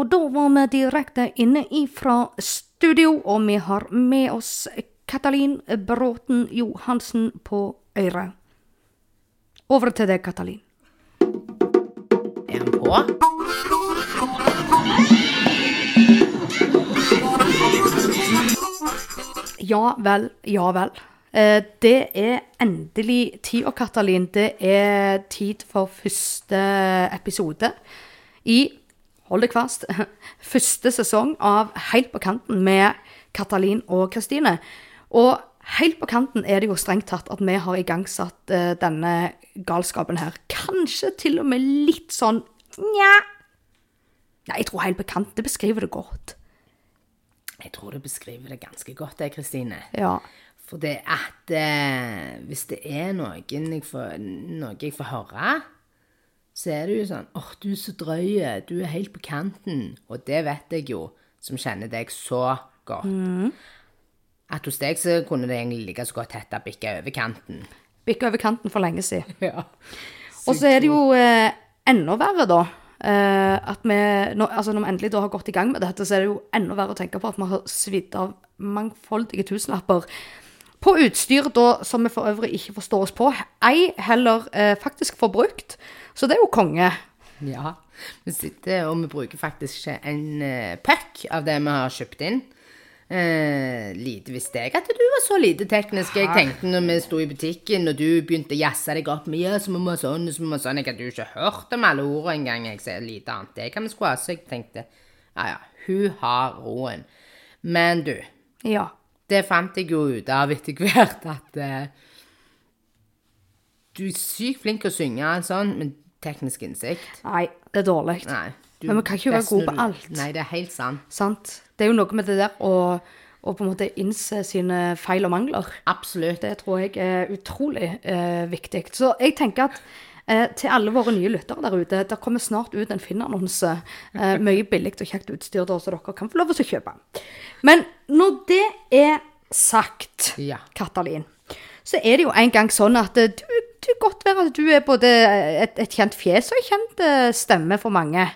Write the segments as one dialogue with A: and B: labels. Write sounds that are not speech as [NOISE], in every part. A: Og da var vi direkte inne ifra studio, og vi har med oss Katalin Bråten Johansen på øret. Over til deg, Katalin.
B: Er han på?
A: Ja vel, ja vel. Eh, Det er endelig tid, og Katalin, det er tid for første episode i Hold deg fast. [LAUGHS] Første sesong av Helt på kanten med Katalin og Kristine. Og helt på kanten er det jo strengt tatt at vi har igangsatt eh, denne galskapen her. Kanskje til og med litt sånn nja. Nei, jeg tror helt på kanten det beskriver det godt.
B: Jeg tror du beskriver det ganske godt, det, Kristine.
A: Ja.
B: For det at eh, hvis det er noen jeg får, noe jeg får høre, så er det jo sånn åh, du er så drøy, du er helt på kanten. Og det vet jeg jo, som kjenner deg så godt. At hos deg så kunne det egentlig like så godt hete bikke over kanten. [LAUGHS]
A: Bikka over kanten for lenge siden.
B: Ja.
A: Og så er det jo eh, enda verre, da. Eh, at vi, når, altså når vi endelig da har gått i gang med dette, så er det jo enda verre å tenke på at vi har svidd av mangfoldige tusenlapper på utstyr da, som vi for øvrig ikke forstår oss på. Ei heller eh, faktisk får brukt. Så det er jo konge.
B: Ja. Vi sitter og vi bruker faktisk ikke en eh, puck av det vi har kjøpt inn. Eh, lite visste jeg at du var så lite teknisk. Jeg tenkte når vi sto i butikken og du begynte å jazze deg opp med ja, så må vi ha sånn, så må vi ha sånn. Jeg hadde jo ikke hørt om alle ordene engang. Jeg ser lite annet. Det kan vi skulle ha. Så jeg tenkte ja ja, hun har roen. Men du,
A: Ja.
B: det fant jeg jo ut av etter hvert at eh, Du er sykt flink til å synge og sånn, men teknisk innsikt
A: Nei, det er dårlig.
B: Nei.
A: Men vi kan ikke være
B: nesten
A: gode på
B: når du-
A: alt.
B: Nei, det er helt sant.
A: Sant? Det er jo noe med det der å, å på en måte innse sine feil og mangler.
B: Absolutt.
A: Det tror jeg er utrolig eh, viktig. Så jeg tenker at eh, til alle våre nye lyttere der ute, der kommer snart ut en Finn-annonse. Eh, mye billig og kjekt utstyr da, så dere kan få lov til å kjøpe. Men når det er sagt,
B: Ja.
A: Katalin, så er det jo en gang sånn at eh, du, du godt være at du er både et, et kjent fjes og en kjent eh, stemme for mange.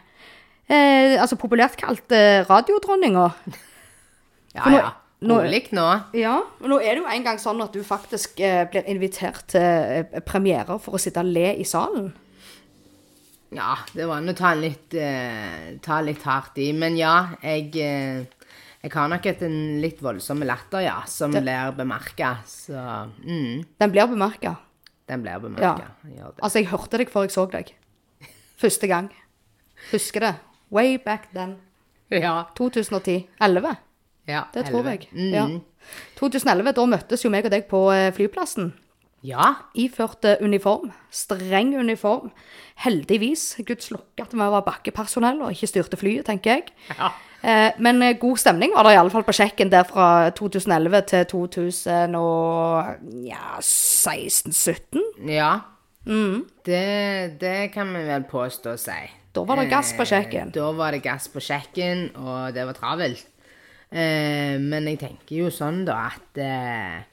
A: Eh, altså populært kalt eh, radiodronninga.
B: Ja,
A: For nå-
B: ja.
A: nå-
B: Rolig nå.
A: Ja, og nå er det jo en gang sånn at du faktisk eh, blir invitert til eh, premierer for å sitte og le i salen.
B: Ja, det var an å ta en litt, eh, ta litt hardt i. Men ja, jeg, eh, jeg har nok et en litt voldsom latter, ja, som blir bemerka. Så mm,
A: Den blir bemerka.
B: den blir
A: Ja.
B: bemerka.
A: Altså, jeg hørte deg før jeg så deg. Første gang. Husker det. Way back then.
B: Ja.
A: 2010. 11.
B: ja.
A: Det tror
B: helvete.
A: jeg.
B: Mm.
A: Ja. 2011, da møttes jo meg og deg på eh, flyplassen.
B: Ja.
A: Iførte uniform. Streng uniform. Heldigvis. Guds lukke at vi var bakkepersonell og ikke styrte flyet, tenker jeg.
B: ja.
A: Eh, Men eh, god stemning var det iallfall på sjekken der fra 2011 til 2016-2017.
B: Ja.
A: Mm.
B: Det, det kan vi vel påstå å si.
A: Da var det gass på
B: Eh,
A: sjekken.
B: Da var det gass på sjekken, og det var travelt. Eh, men jeg tenker jo sånn, da, at eh,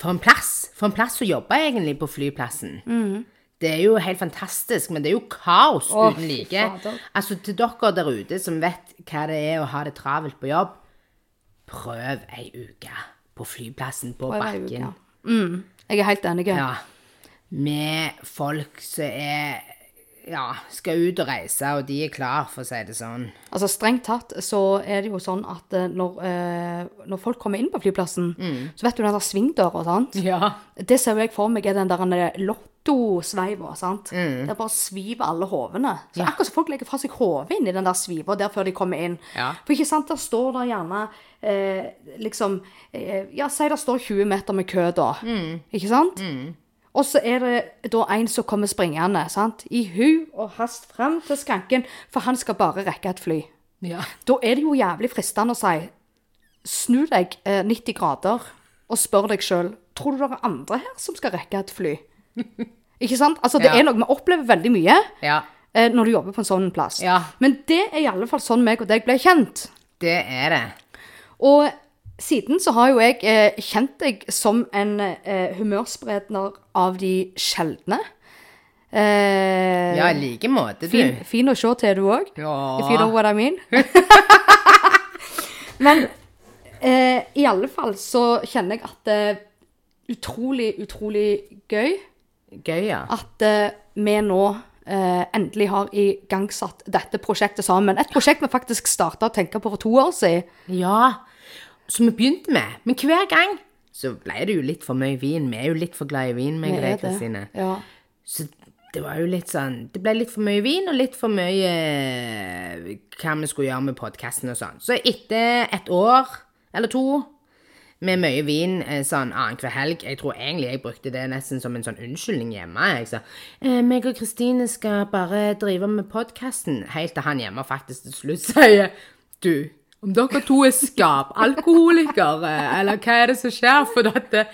B: For en plass! For en plass å jobbe, egentlig, på flyplassen.
A: Mm.
B: Det er jo helt fantastisk, men det er jo kaos
A: Å,
B: uten
A: fy
B: like.
A: fader.
B: Altså, til dere der ute som vet hva det er å ha det travelt på jobb, prøv ei uke på flyplassen, på
A: Prøv ei uke,
B: bakken.
A: ja. Mm, jeg er helt enig.
B: Ja. Med folk som er Ja, skal ut og reise, og de er klar, for å si det sånn.
A: Altså Strengt tatt så er det jo sånn at eh, når, eh, når folk kommer inn på flyplassen,
B: Mm.
A: så vet du den der svingdøra, sant?
B: Ja.
A: Det ser jo jeg for meg er den der eh, lottosveiva, sant. Der bare sviver alle hovene. Så akkurat som folk legger fra seg hodet inn i den der sviva der før de kommer inn.
B: Ja.
A: For ikke sant, der står der gjerne eh, liksom eh, Ja, si det står 20 meter med kø, da. Ikke sant? Og så er det da en som kommer springende, sant. I hu og hast frem til skranken, for han skal bare rekke et fly.
B: Ja.
A: Da er det jo jævlig fristende å si snu deg eh, 90 grader og spør deg sjøl tror du det er andre her som skal rekke et
B: [LAUGHS]
A: fly. Ikke sant? Altså, det
B: Ja.
A: er noe vi opplever veldig mye
B: ja.
A: eh, når du jobber på en sånn plass.
B: Ja.
A: Men det er i alle fall sånn meg og deg ble kjent.
B: Det er det.
A: Og siden så har jo jeg eh, kjent deg som en eh, humørspredner av de sjeldne. Eh,
B: Ja, i like måte, du.
A: fin, fin å se til, du òg. If you know
B: Ja.
A: what I [LAUGHS] mean. Men eh, i alle fall så kjenner jeg at det er utrolig, utrolig gøy
B: Gøy, ja.
A: at eh, vi nå eh, endelig har igangsatt dette prosjektet sammen. Et prosjekt vi faktisk starta å tenke på for to år siden.
B: Ja, som vi begynte med. Men hver gang så ble det jo litt for mye vin. Vi er jo litt for glad i vin, meg
A: Det
B: og
A: er
B: deg,
A: det.
B: Kristine.
A: Ja.
B: Så det var jo litt sånn Det ble litt for mye vin og litt for mye eh, hva vi skulle gjøre med podkasten og sånn. Så etter et år eller to med mye vin eh, sånn annenhver helg Jeg tror egentlig jeg brukte det nesten som en sånn unnskyldning hjemme. Jeg sa eh, meg og Kristine skal bare drive med podkasten, helt til han hjemme faktisk til slutt sier Du, om dere to er skapalkoholikere, eller hva er det som skjer? For dette,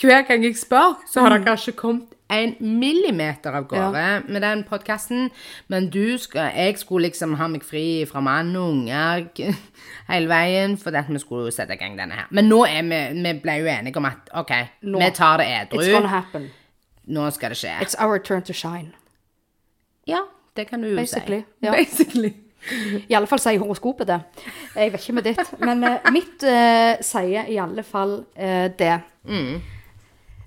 B: hver gang jeg spør, så har dere ikke kommet en millimeter av gårde med den podkasten. Men du skal, jeg skulle liksom ha meg fri fra mann og unger [LAUGHS] k- hele veien, for at vi skulle jo sette i gang denne her. Men nå er vi, vi ble jo enige om at OK,
A: Nå.
B: vi tar det
A: It's gonna
B: edru.
A: happen.
B: Nå skal det skje.
A: It's our turn to shine.
B: Ja, det kan du jo
A: Basically,
B: si.
A: ja.
B: Basically.
A: I alle fall sier horoskopet det. Jeg vet ikke med ditt, men eh, mitt eh, sier i alle fall eh, det.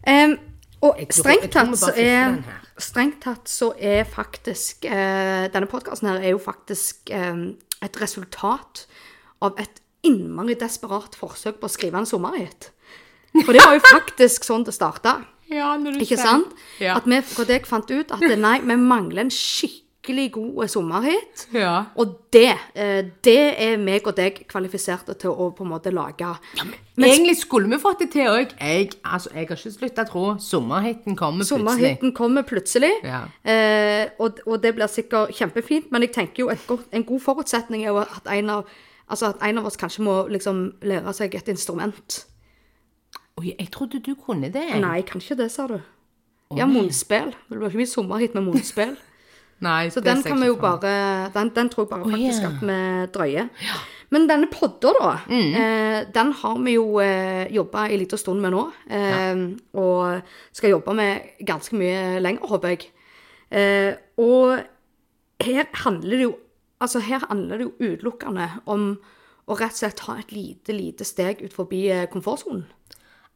A: Em, og
B: Mm. Jeg tror-
A: strengt
B: jeg tror vi
A: tatt
B: bare
A: så
B: fikser
A: er
B: den her.
A: Strengt tatt så er faktisk eh, Denne podkasten her er jo faktisk em, et resultat av et innmari desperat forsøk på å skrive en sommerhit. For det var jo faktisk sånn det starta.
B: Ja, når du
A: Ikke
B: sier-
A: sant?
B: Ja.
A: At vi fra deg fant ut at nei, vi mangler en skikkelig god sommerhit.
B: ja.
A: Og det, eh, det er meg og deg kvalifiserte til å på en måte lage.
B: Men egentlig skulle vi fått det til òg. Jeg, altså, jeg har ikke slutta å tro. Sommerhiten kommer plutselig.
A: Sommerhiten kommer plutselig,
B: Ja.
A: eh, og, og det blir sikkert kjempefint. Men jeg tenker jo et godt, en god forutsetning er jo at en av, altså at en av oss kanskje må liksom lære seg et instrument.
B: Oi, jeg trodde du kunne det.
A: Nei, kanskje det, sa du. Ja, munnspill. Det blir ikke mye sommerhit med munnspill.
B: Nei,
A: Så den kan vi jo bare Den, den tror jeg bare faktisk
B: ja.
A: at vi drøyer. Men denne podda, da,
B: Mm.
A: eh, den har vi jo eh, jobba en liten stund med nå. Eh, Og skal jobbe med ganske mye lenger, håper jeg. Eh, og her handler det jo Altså, her handler det jo utelukkende om å rett og slett ta et lite, lite steg ut forbi eh, komfortsonen.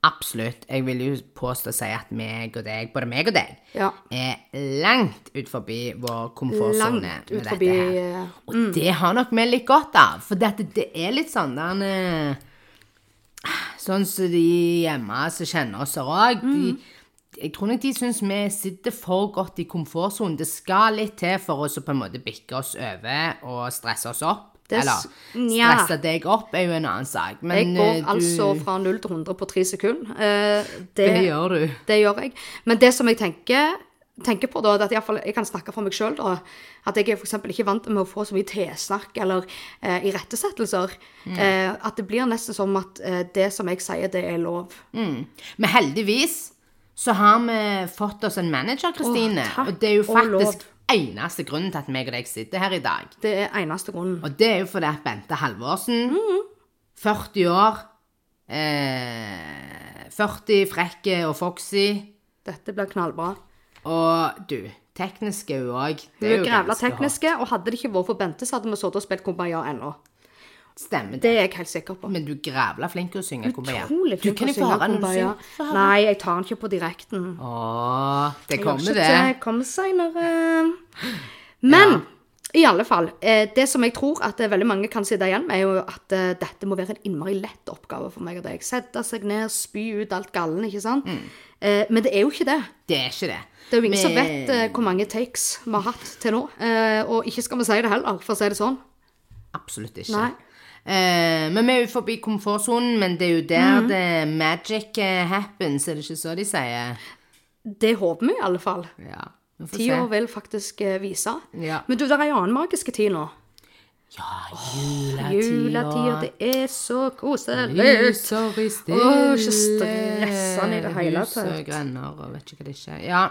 B: Absolutt. Jeg vil jo påstå å si at meg og deg, både meg og deg,
A: Ja.
B: er langt ut forbi vår komfortsone
A: Langt
B: med
A: ut
B: dette
A: forbi
B: her.
A: eh,
B: Og det har nok vi litt godt av, for dette, det er litt sånn den eh, Sånn som de hjemme som kjenner oss òg.
A: Mm.
B: Jeg tror nok de syns vi sitter for godt i komfortsonen. Det skal litt til for oss å på en måte bikke oss over og stresse oss opp.
A: Det
B: Eller
A: s- nja.
B: stresse deg opp er jo en annen sak. Men
A: Jeg går
B: eh, du,
A: altså fra 0 til 100 på tre sekunder. Eh,
B: det gjør du.
A: Det gjør jeg. Men det som jeg tenker, tenker på, da, det er at jeg, jeg kan snakke for meg sjøl, da. At jeg er for eksempel ikke vant med å få så mye tilsnakk eller eh, irettesettelser.
B: Mm.
A: Eh, at det blir nesten som at eh, det som jeg sier, det er lov.
B: Mm. Men heldigvis så har vi fått oss en manager, Kristine.
A: Åh, takk
B: og det er jo
A: og lov.
B: faktisk eneste grunnen til at meg og deg sitter her i dag.
A: Det er eneste grunnen.
B: Og det er jo fordi at Bente Halvorsen,
A: Mm.
B: 40 år, eh, 40, frekke og foxy,
A: Dette blir knallbra.
B: og du, teknisk er hun òg.
A: Hun er grævla tekniske, og hadde det ikke vært for Bente, så hadde vi sittet og spilt Kumbaya ennå.
B: Stemmer det.
A: Det er jeg helt sikker på.
B: Men du er grævla flink til å synge kumbaya.
A: Utrolig
B: Du
A: flink
B: kan
A: til å
B: jo få
A: synge
B: høre når du
A: Kumbaya.
B: synger.
A: Nei, jeg tar den ikke på direkten.
B: Åh, det
A: Jeg gjør eh,
B: kommer
A: ikke
B: det.
A: Det kommer senere. eh, Men i alle fall, eh, det som jeg tror at eh, veldig mange kan sitte igjen med, er jo at eh, dette må være en innmari lett oppgave for meg og deg. Sette seg ned, spy ut alt gallen, ikke sant?
B: Mm.
A: Eh, Men det er jo ikke det.
B: Det er ikke det.
A: Det er jo ingen som
B: Men-
A: vet eh, hvor mange takes vi har hatt til nå. Eh, Og ikke skal vi si det heller, for å si det sånn.
B: Absolutt ikke.
A: Nei.
B: Eh, men vi er jo forbi komfortsonen, men det er jo der
A: Mhm.
B: det magic eh, happens, er det ikke så de sier?
A: Det håper vi i alle fall.
B: Ja. Vi får
A: Tida
B: se.
A: vil faktisk eh, vise.
B: Ja.
A: Men du, det er en annen magiske tid nå.
B: Ja, juletida.
A: Juletida, det er så koselig.
B: Lyser i stille
A: Åh, ikke stressende i det hele
B: hus og
A: tatt.
B: grønner og vet ikke hva det ikke er. Ja.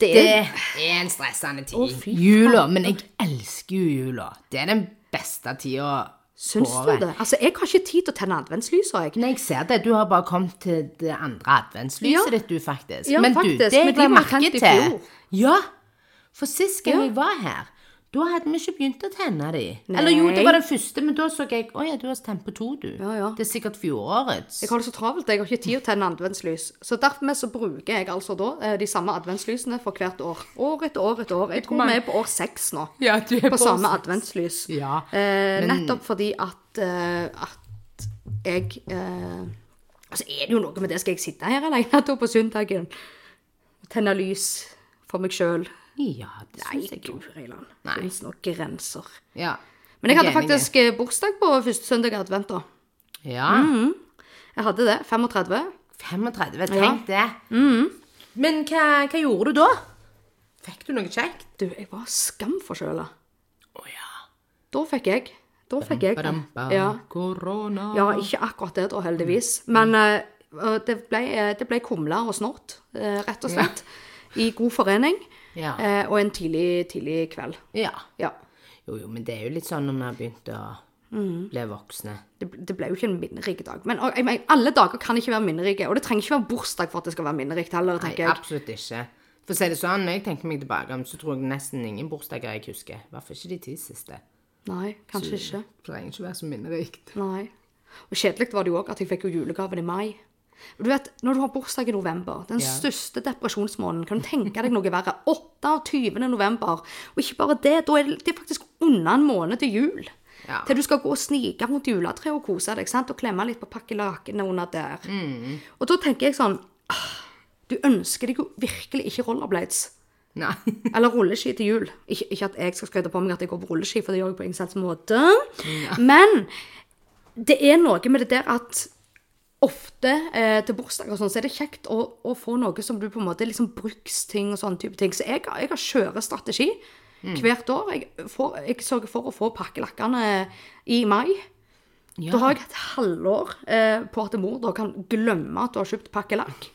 A: Det
B: Det
A: er
B: er en stressende tid.
A: Å, fy faen.
B: jula. Men jeg elsker jo jula. Det er den beste tida
A: Syns du det? Altså, jeg har ikke tid til å tenne adventslysa, jeg.
B: Nei, jeg ser det. Du har bare kommet til det andre adventslyset
A: Ja.
B: ditt, du, faktisk.
A: Ja,
B: men du,
A: faktisk,
B: det
A: men de
B: jeg la
A: var
B: merke
A: tent i
B: til
A: fjor.
B: Ja, For sist gang jeg var her, da hadde vi ikke begynt å tenne de.
A: Nei.
B: Eller jo, det var den første, men da så jeg Å ja, du har tent på to, du.
A: Ja, ja.
B: Det er sikkert fjorårets.
A: Jeg har det så travelt, jeg har ikke tid til å tenne adventslys. Så derfor så bruker jeg altså da eh, de samme adventslysene for hvert år. År etter år etter år. Jeg tror vi er på år seks nå,
B: Ja, du er
A: på samme adventslys.
B: Ja,
A: Eh, nettopp fordi at, eh, at jeg eh, Altså er det jo noe med det, skal jeg sitte her alene da på søndagen? Tenne lys for meg sjøl?
B: Ja, det
A: Nei,
B: syns jeg jo.
A: gud, Reiland. Det fins noen grenser.
B: Ja.
A: Men jeg hadde
B: er enig.
A: faktisk eh, bursdag på første søndag i advent, da.
B: Ja.
A: Mm. Jeg hadde det. 35.
B: 35, tenk det.
A: Mm.
B: Men hva, hva gjorde du da? Fikk du noe kjekt?
A: Du, jeg var skamforkjøla.
B: Å ja.
A: Da fikk jeg. Da fikk jeg.
B: Badampa,
A: Ja.
B: korona.
A: ja, ikke akkurat det, da, heldigvis. Men eh, og det ble, eh, det ble kumler og snort, eh, rett og slett. I god forening.
B: Ja.
A: eh, Og en tidlig, tidlig kveld.
B: ja.
A: Ja.
B: Jo, jo, men det er jo litt sånn når vi har begynt å
A: Mm.
B: bli voksne.
A: Det, det ble jo ikke en minnerik dag. Men og, jeg mener, alle dager kan ikke være minnerike. Og det trenger ikke være bursdag for at det skal være minnerikt heller,
B: Nei,
A: tenker jeg.
B: absolutt ikke. For å si det sånn, når jeg tenker meg tilbake om, så tror jeg nesten ingen bursdager jeg husker. I hvert fall ikke de ti siste.
A: Nei, kanskje ikke.
B: Det trenger ikke være så minnerikt. [LAUGHS]
A: Nei. Og kjedelig var det jo òg at jeg fikk jo julegaven i mai. Og Du vet, Når du har bursdag i november, den største depresjonsmåneden, kan du tenke deg noe verre? 28. november. Og ikke bare det, da er det, det er faktisk unna en måned til jul.
B: Ja.
A: Til du skal gå og snike rundt juletreet og kose deg sant? og klemme litt på pakkelakenet under der. Og da tenker jeg sånn «Ah, Du ønsker deg jo virkelig ikke rollerblades.
B: Nei.
A: Eller rulleski til jul. Ikke, ikke at jeg skal skryte på meg at jeg går på rulleski, for det gjør jeg på ingen selvs måte. Men det er noe med det der at ofte eh, til bursdager og sånn, så er det kjekt å, å få noe som du på en måte liksom bruksting og sånn type ting. Så jeg, har- jeg har kjørestrategi
B: Mm.
A: hvert år. Jeg, får, jeg sørger for å få pakkelakkene i mai.
B: Ja.
A: Da har jeg et halvår eh, på at mor da kan glemme at du har kjøpt pakkelakk.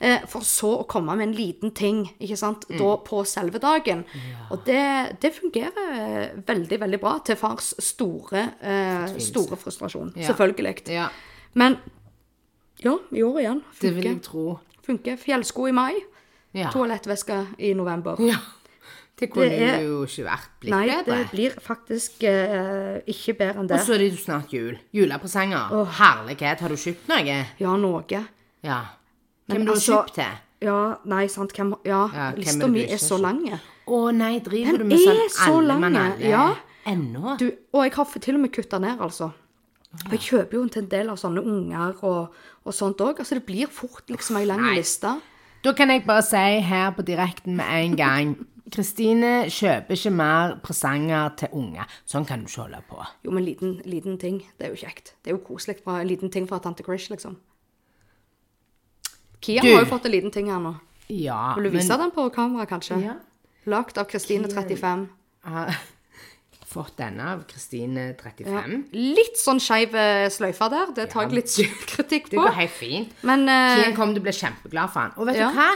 A: Eh, for så å komme med en liten ting ikke sant?
B: Mm.
A: Da på selve dagen. Og det, det fungerer eh, veldig, veldig bra til fars store, eh, store frustrasjon.
B: Ja.
A: Selvfølgelig.
B: Ja,
A: Men ja, i år igjen.
B: det vil
A: Funker.
B: jeg tro.
A: funker. Fjellsko i mai,
B: Ja.
A: toalettveske i november.
B: [LAUGHS] ja. Det kunne
A: Det er-
B: jo ikke vært blitt
A: Nei, det
B: bedre.
A: blir faktisk eh, ikke bedre enn det.
B: Og så er det jo snart jul. Julepresanger. Herlighet, har du kjøpt noe?
A: Ja, noe.
B: Ja.
A: Men
B: Hvem du har
A: altså-
B: kjøpt til?
A: Ja, nei, sant. Hvem, ja,
B: Ja, hvem er
A: lista
B: det
A: mi
B: du ikke
A: er så
B: har
A: lang.
B: Å nei, driver
A: Den
B: du med sånn
A: er så
B: alle
A: lang,
B: mann alle?
A: ja.
B: Ennå?
A: Du, og jeg har f- til og med kutta ned, altså. Og jeg kjøper jo til en del av sånne unger og, og sånt òg. Altså, det blir fort liksom ei lang liste.
B: Da kan jeg bare si her på direkten med en gang. Kristine kjøper ikke mer presanger til unge. Sånn kan du ikke holde på.
A: Jo, men liten, liten ting, det er jo kjekt. Det er jo koselig. Fra, en liten ting fra tante Krish, liksom. Kia
B: Du.
A: har jo fått en liten ting her nå.
B: Ja,
A: Vil du vise den på kamera, kanskje?
B: Ja.
A: Lagt av Kristine 35.
B: har fått denne av Kristine 35.
A: Ja. Litt sånn skeiv eh, sløyfe der. Det tar jeg litt kritikk
B: Det
A: på.
B: går helt fint.
A: Men eh,
B: Kien kom til å bli kjempeglad for han. Og vet
A: Ja.
B: du hva?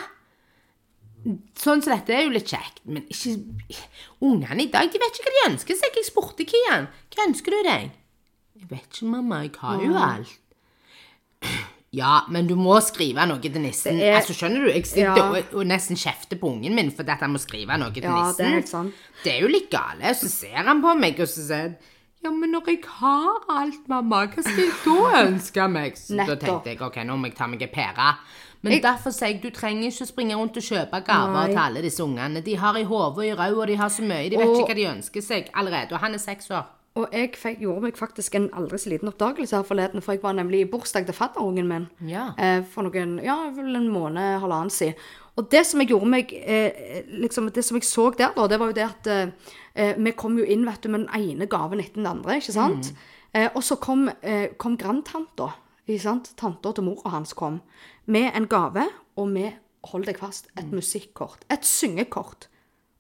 B: Sånn som dette er jo litt kjekt, men ikke Ungene i dag, de vet ikke hva de ønsker seg. Jeg spurte Kian. Hva ønsker du deg? Jeg vet ikke, mamma. Jeg har jo alt. [CLEARS THROAT] Ja, men du må skrive noe til nissen.
A: Det er-
B: altså, skjønner du? Jeg sitter
A: Ja.
B: og, og nesten kjefter på ungen min fordi at han må skrive noe til
A: Ja,
B: nissen.
A: det er helt sant.
B: Det er jo litt gale. Og så ser han på meg, og så sier han ja, men når jeg har alt, mamma, hva skal jeg da ønske meg? Så da
A: Nettopp.
B: tenkte jeg ok, nå må jeg ta meg en pære. Men derfor sier jeg du trenger ikke springe rundt og kjøpe gaver
A: Nei.
B: til alle disse ungene. De har i hodet og i ræva, og de har så mye. De vet
A: Og-
B: ikke hva de ønsker seg allerede. Og han er seks år.
A: Og jeg fikk, gjorde meg faktisk en aldri så liten oppdagelse her forleden, for jeg var nemlig i bursdag til fadderungen min
B: Ja.
A: eh, for noen, ja, vel en måned, halvannen siden. Og det som jeg gjorde meg, eh, liksom, det som jeg så der da, det var jo det at eh, eh, vi kom jo inn, vet du, med den ene gaven etter den andre, ikke sant?
B: Mm.
A: Eh, og så kom, eh, kom grandtanta, ikke sant? Tanta til mor og hans kom, med en gave, og med, hold deg fast, et
B: Mm.
A: musikkort, et syngekort.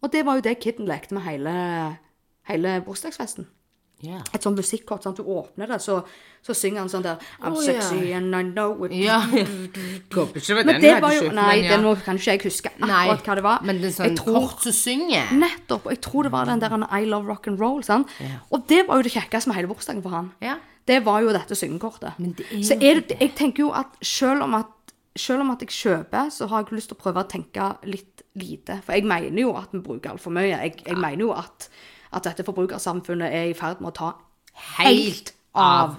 A: Og det var jo det kidden lekte med hele, hele bursdagsfesten
B: Ja.
A: et sånt musikkort. Sant? Du åpner det, så, så synger han sånn der I'm
B: Å, ja.
A: sexy and I know it. [LAUGHS]
B: ja. Håper ikke det var
A: Men
B: den
A: det
B: du hadde
A: var jo
B: kjøpt,
A: Nei,
B: men ja.
A: den kan ikke jeg huske
B: Nei,
A: akkurat hva det var.
B: Men det er sånn
A: jeg tror,
B: kort som synger.
A: Nettopp. Og jeg tror det var den der I love rock and roll. Sant? Og det var jo det kjekkeste med hele bursdagen for han.
B: Ja.
A: Det var jo dette syngekortet.
B: Men det er
A: så
B: jo
A: er det, jeg tenker jo at selv om at selv om at jeg kjøper, så har jeg lyst til å prøve å tenke litt lite. For jeg mener jo at vi bruker altfor mye. Jeg, jeg mener jo at, at dette forbrukersamfunnet er i ferd med å ta helt
B: Helt
A: av.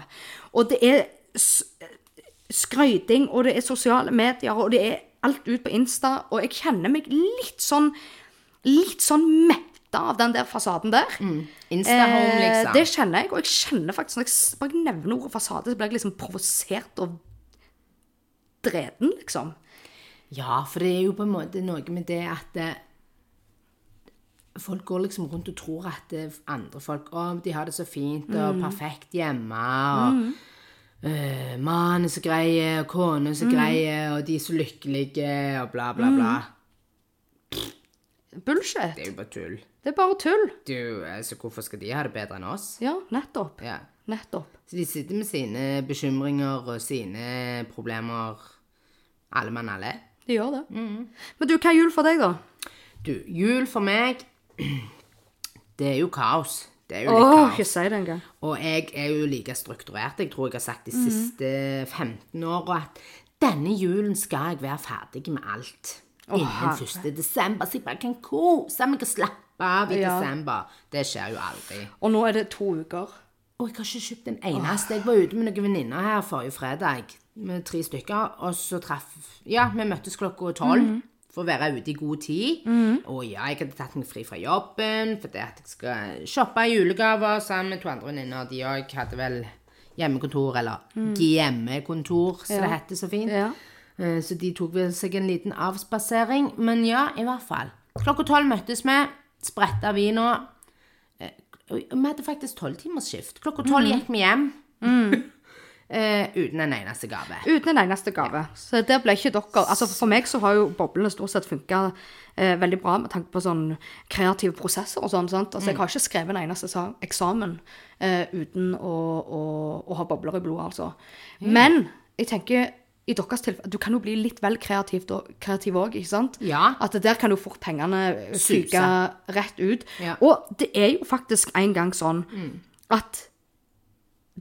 A: Og det er s- skrøyting, og det er sosiale medier, og det er alt ut på Insta, og jeg kjenner meg litt sånn litt sånn metta av den der fasaden der.
B: Mm, Instahome,
A: Eh,
B: liksom.
A: Det kjenner jeg, og jeg kjenner faktisk når jeg s- bare nevner ordet fasade, så blir jeg liksom provosert og dreden, liksom.
B: Ja, for det er jo på en måte noe med det at eh, Folk går liksom rundt og tror at eh, andre folk Å, de har det så fint og perfekt hjemme. og eh, Mannen er så grei, og konen er så grei, og de er så lykkelige, og bla, bla, bla.
A: Bullshit.
B: Det er jo bare tull.
A: Det er bare tull.
B: Det er jo, altså, hvorfor skal de ha det bedre enn oss?
A: Ja, nettopp.
B: Ja.
A: Nettopp.
B: Så de sitter med sine bekymringer og sine problemer, alle mann alle.
A: De gjør det.
B: Mm.
A: Men du, hva er jul for deg, da?
B: Du, jul for meg, [CLEARS THROAT] det er jo kaos. Det er jo
A: Åh,
B: litt kaos.
A: ikke si det engang.
B: Og jeg er jo like strukturert. Jeg tror jeg har sagt de
A: Mhm.
B: siste 15 åra at denne julen skal jeg være ferdig med alt. Innen
A: herre.
B: 1. desember, så jeg bare kan kose meg og slappe av i
A: Ja.
B: desember. Det skjer jo aldri.
A: Og nå er det to uker.
B: Og jeg har ikke kjøpt en eneste. Jeg var ute med noen venninner her forrige fredag, med tre stykker, og så traff Ja, vi møttes klokka tolv. For å være ute i god tid. Og ja, jeg hadde tatt meg fri fra jobben fordi at jeg skal shoppe julegaver sammen med to andre venninner. De òg hadde vel hjemmekontor, eller hjemmekontor, som det heter så fint.
A: Ja.
B: Eh, Så de tok vel seg en liten avspasering. Men ja, i hvert fall. Klokka tolv møttes vi, spretta vina. Eh, og Vi hadde faktisk tolvtimersskift. Klokka
A: Mm.
B: tolv gikk vi hjem. [LAUGHS] eh, uten en eneste gave.
A: Uten en eneste gave. Så der ble ikke dere Altså For meg så har jo boblene stort sett funka eh, veldig bra med tanke på sånn kreative prosesser og sånn. sant?
B: Mm.
A: Altså Jeg har ikke skrevet en eneste sa- eksamen eh, uten å, å, å ha bobler i blodet, altså. Men jeg tenker i deres tilfelle, Du kan jo bli litt vel kreativ òg, ikke sant?
B: Ja.
A: At der kan jo fort pengene
B: Suse.
A: fyke rett ut.
B: Ja. Mm.
A: Og det er jo faktisk en gang sånn at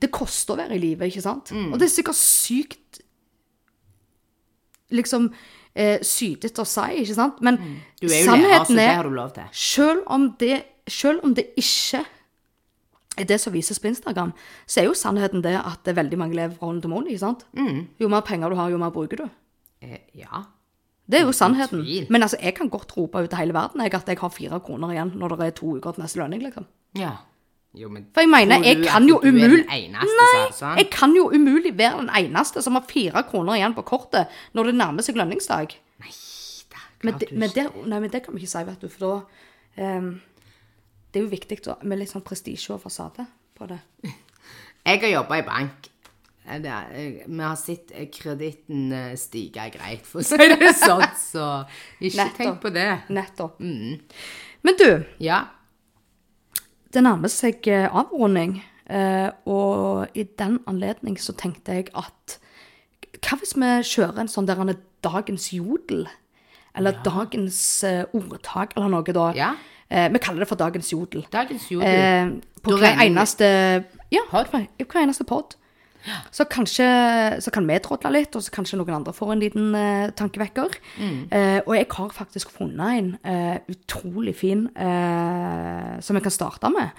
A: det koster å være i live, ikke sant?
B: Mm.
A: Og det er sikkert sykt liksom eh, sytete å si, ikke sant? Men
B: Mm. Du er jo lærer, så
A: sannheten
B: det har
A: er,
B: du lov til.
A: selv om, det, selv om det ikke er det som vises på Instagram, så er jo sannheten det at det er veldig mange lever fra hånd til munn, ikke sant?
B: Mm.
A: Jo mer penger du har, jo mer bruker du.
B: Eh, ja.
A: Det er jo sannheten.
B: tvil.
A: Men altså, jeg kan godt rope ut til hele verden jeg, at jeg har fire kroner igjen når det er to uker til neste lønning, liksom.
B: ja. Jo, men
A: For jeg mener,
B: tror
A: jeg
B: du
A: kan
B: at
A: jo
B: du er den
A: umul-
B: eneste som er sånn?
A: Jeg kan jo umulig være den eneste som har fire kroner igjen på kortet når det nærmer seg lønningsdag.
B: Da,
A: Men,
B: klart
A: det,
B: du
A: men,
B: ikke-
A: det, nei, men det kan vi ikke si, vet du, for da ehm, Det er jo viktig da, med litt sånn prestisje og fasade på det.
B: Jeg har jobba i bank. Eh, det er- eh, Vi har sett eh, kreditten eh, stige greit, for å si
A: [LAUGHS]
B: det sånn, så ikke
A: Nettopp.
B: tenk på det.
A: Nettopp.
B: Mm.
A: Men du,
B: Ja.
A: det nærmer seg eh, avrunding, eh, og i den anledning så tenkte jeg at hva hvis vi kjører en sånn der en dagens jodel? Eller dagens eh, ordtak, eller noe da.
B: Ja.
A: Eh, vi kaller det for dagens jodel.
B: Dagens jodel.
A: Eh, på
B: Da
A: hver
B: regner vi-
A: eneste Ja,
B: Pod.
A: hver, hver eneste pod. Så kanskje så kan vi trådle litt, og så kanskje noen andre får en liten eh, tankevekker. Eh, og jeg har faktisk funnet en eh, utrolig fin eh, som jeg kan starte med.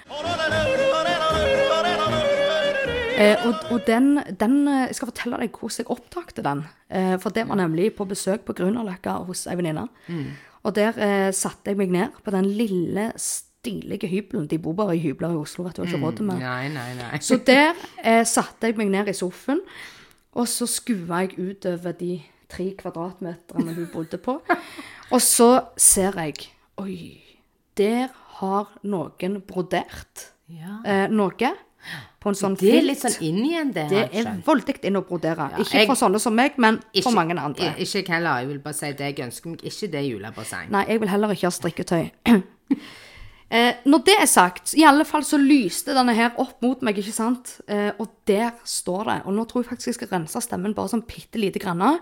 A: Eh, og og den, den, eh, jeg skal fortelle deg hvordan jeg opptakte den. Eh, for det var nemlig på besøk på Grünerløkka hos ei venninne. Og der eh, satte jeg meg ned på den lille, stilige hybelen. De bor bare i hybler i Oslo, vet du. har Ikke råd til mer.
B: Nei, nei, nei. [LAUGHS]
A: Så der eh, satte jeg meg ned i sofaen, og så skua jeg utover de tre kvadratmeterne hun bodde på. Og så ser jeg Oi, der har noen brodert
B: Ja.
A: eh, noe på en sånn
B: Det er
A: filt.
B: litt sånn inn igjen, det.
A: Det
B: har jeg
A: er
B: skjønt.
A: voldelig inn å brodere. ikke
B: jeg-
A: for sånne som meg, men
B: Ikke-
A: for mange andre.
B: i- Ikke jeg heller. Jeg vil bare si det. Jeg ønsker meg ikke det julebasseng.
A: Nei, jeg vil heller ikke ha strikketøy. [CLEARS THROAT] Eh, når det er sagt, i alle fall så lyste denne her opp mot meg, ikke sant? Eh, og der står det. Og nå tror jeg faktisk jeg skal rense stemmen bare sånn bitte lite grann.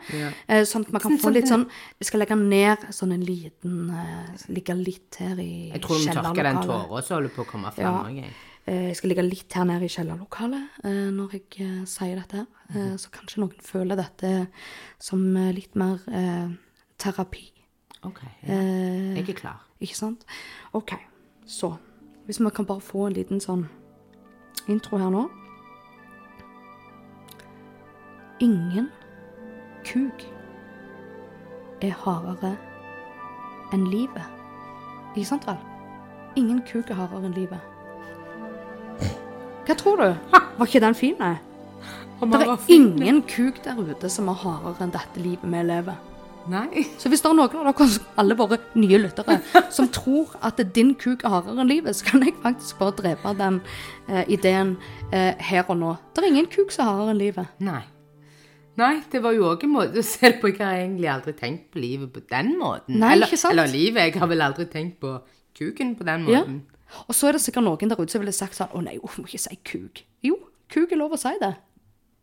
A: Eh, sånn at man kan få litt sånn Jeg skal legge den ned sånn en liten eh, Ligge litt her i
B: Jeg tror vi tørker
A: kjellerlokalet.
B: den tåra som holder på å komme
A: Ja.
B: fram. Ja.
A: Eh, Jeg skal ligge litt her nede i kjellerlokalet eh, når jeg eh, sier dette. her.
B: Mhm.
A: Eh, Så kanskje noen føler dette som eh, litt mer eh, terapi.
B: OK. Ja. Jeg
A: Eh,
B: er klar.
A: Ikke sant? OK, så Hvis vi kan bare få en liten sånn intro her nå. Ingen kuk er hardere enn livet. Ikke sant, Ral? Ingen kuk er hardere enn livet. Hva tror du? Var ikke den fin, nei? Det
B: var
A: er ingen kuk der ute som er hardere enn dette livet vi lever.
B: Nei.
A: Så hvis det er noen av dere, som- alle våre nye lyttere, som tror at din kuk er hardere enn livet, så kan jeg faktisk bare drepe den eh, ideen eh, her og nå. Det er ingen kuk som er hardere enn livet.
B: Nei. Nei, det var jo òg en måte å se det på. Jeg har egentlig aldri tenkt på livet på den måten.
A: Nei,
B: eller,
A: ikke sant?
B: eller livet. Jeg har vel aldri tenkt på kuken på den
A: Ja.
B: måten.
A: Og så er det sikkert noen der ute som ville sagt sånn Å nei, uff, må ikke si kuk. Jo, kuk er lov å si det.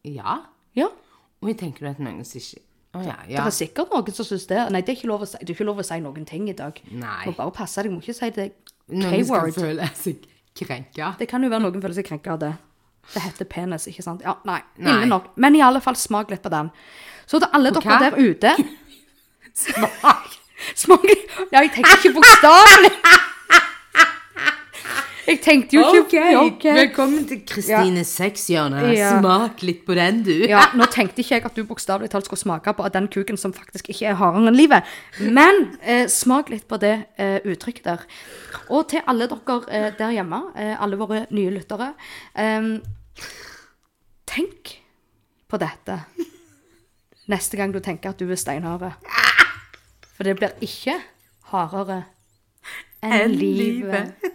B: Ja.
A: Ja.
B: Og jeg tenker du at noen som ikke Å ja.
A: Det
B: ja.
A: er sikkert noen som syns det. Nei, det er ikke lov å si, det er ikke lov å si noen ting i dag.
B: Nei.
A: Du må bare passe deg, du må ikke si det
B: Noen skal
A: K-word.
B: føle seg
A: [LAUGHS]
B: krenka.
A: Det kan jo være noen føler seg krenka av det. Det heter penis, ikke sant? Ja, nei,
B: Nei.
A: ille nok. Men i alle fall smak litt på den. Så til alle dere
B: hva?
A: der
B: [LAUGHS]
A: ute
B: Smak!
A: Smak Ja, jeg tenkte ikke bokstavelig. Jeg tenkte jo
B: OK!
A: ikke ok.
B: Velkommen til Kristines sexhjørne.
A: Ja.
B: Smak litt på den, du. [LAUGHS]
A: Ja, nå tenkte ikke jeg at du bokstavelig talt skulle smake på den kuken som faktisk ikke er hardere enn livet. Men eh, smak litt på det eh, uttrykket der. Og til alle dere eh, der hjemme, eh, alle våre nye lyttere eh, Tenk på dette neste gang du tenker at du er steinhard. Ah! For det blir ikke hardere enn
B: Enn
A: livet.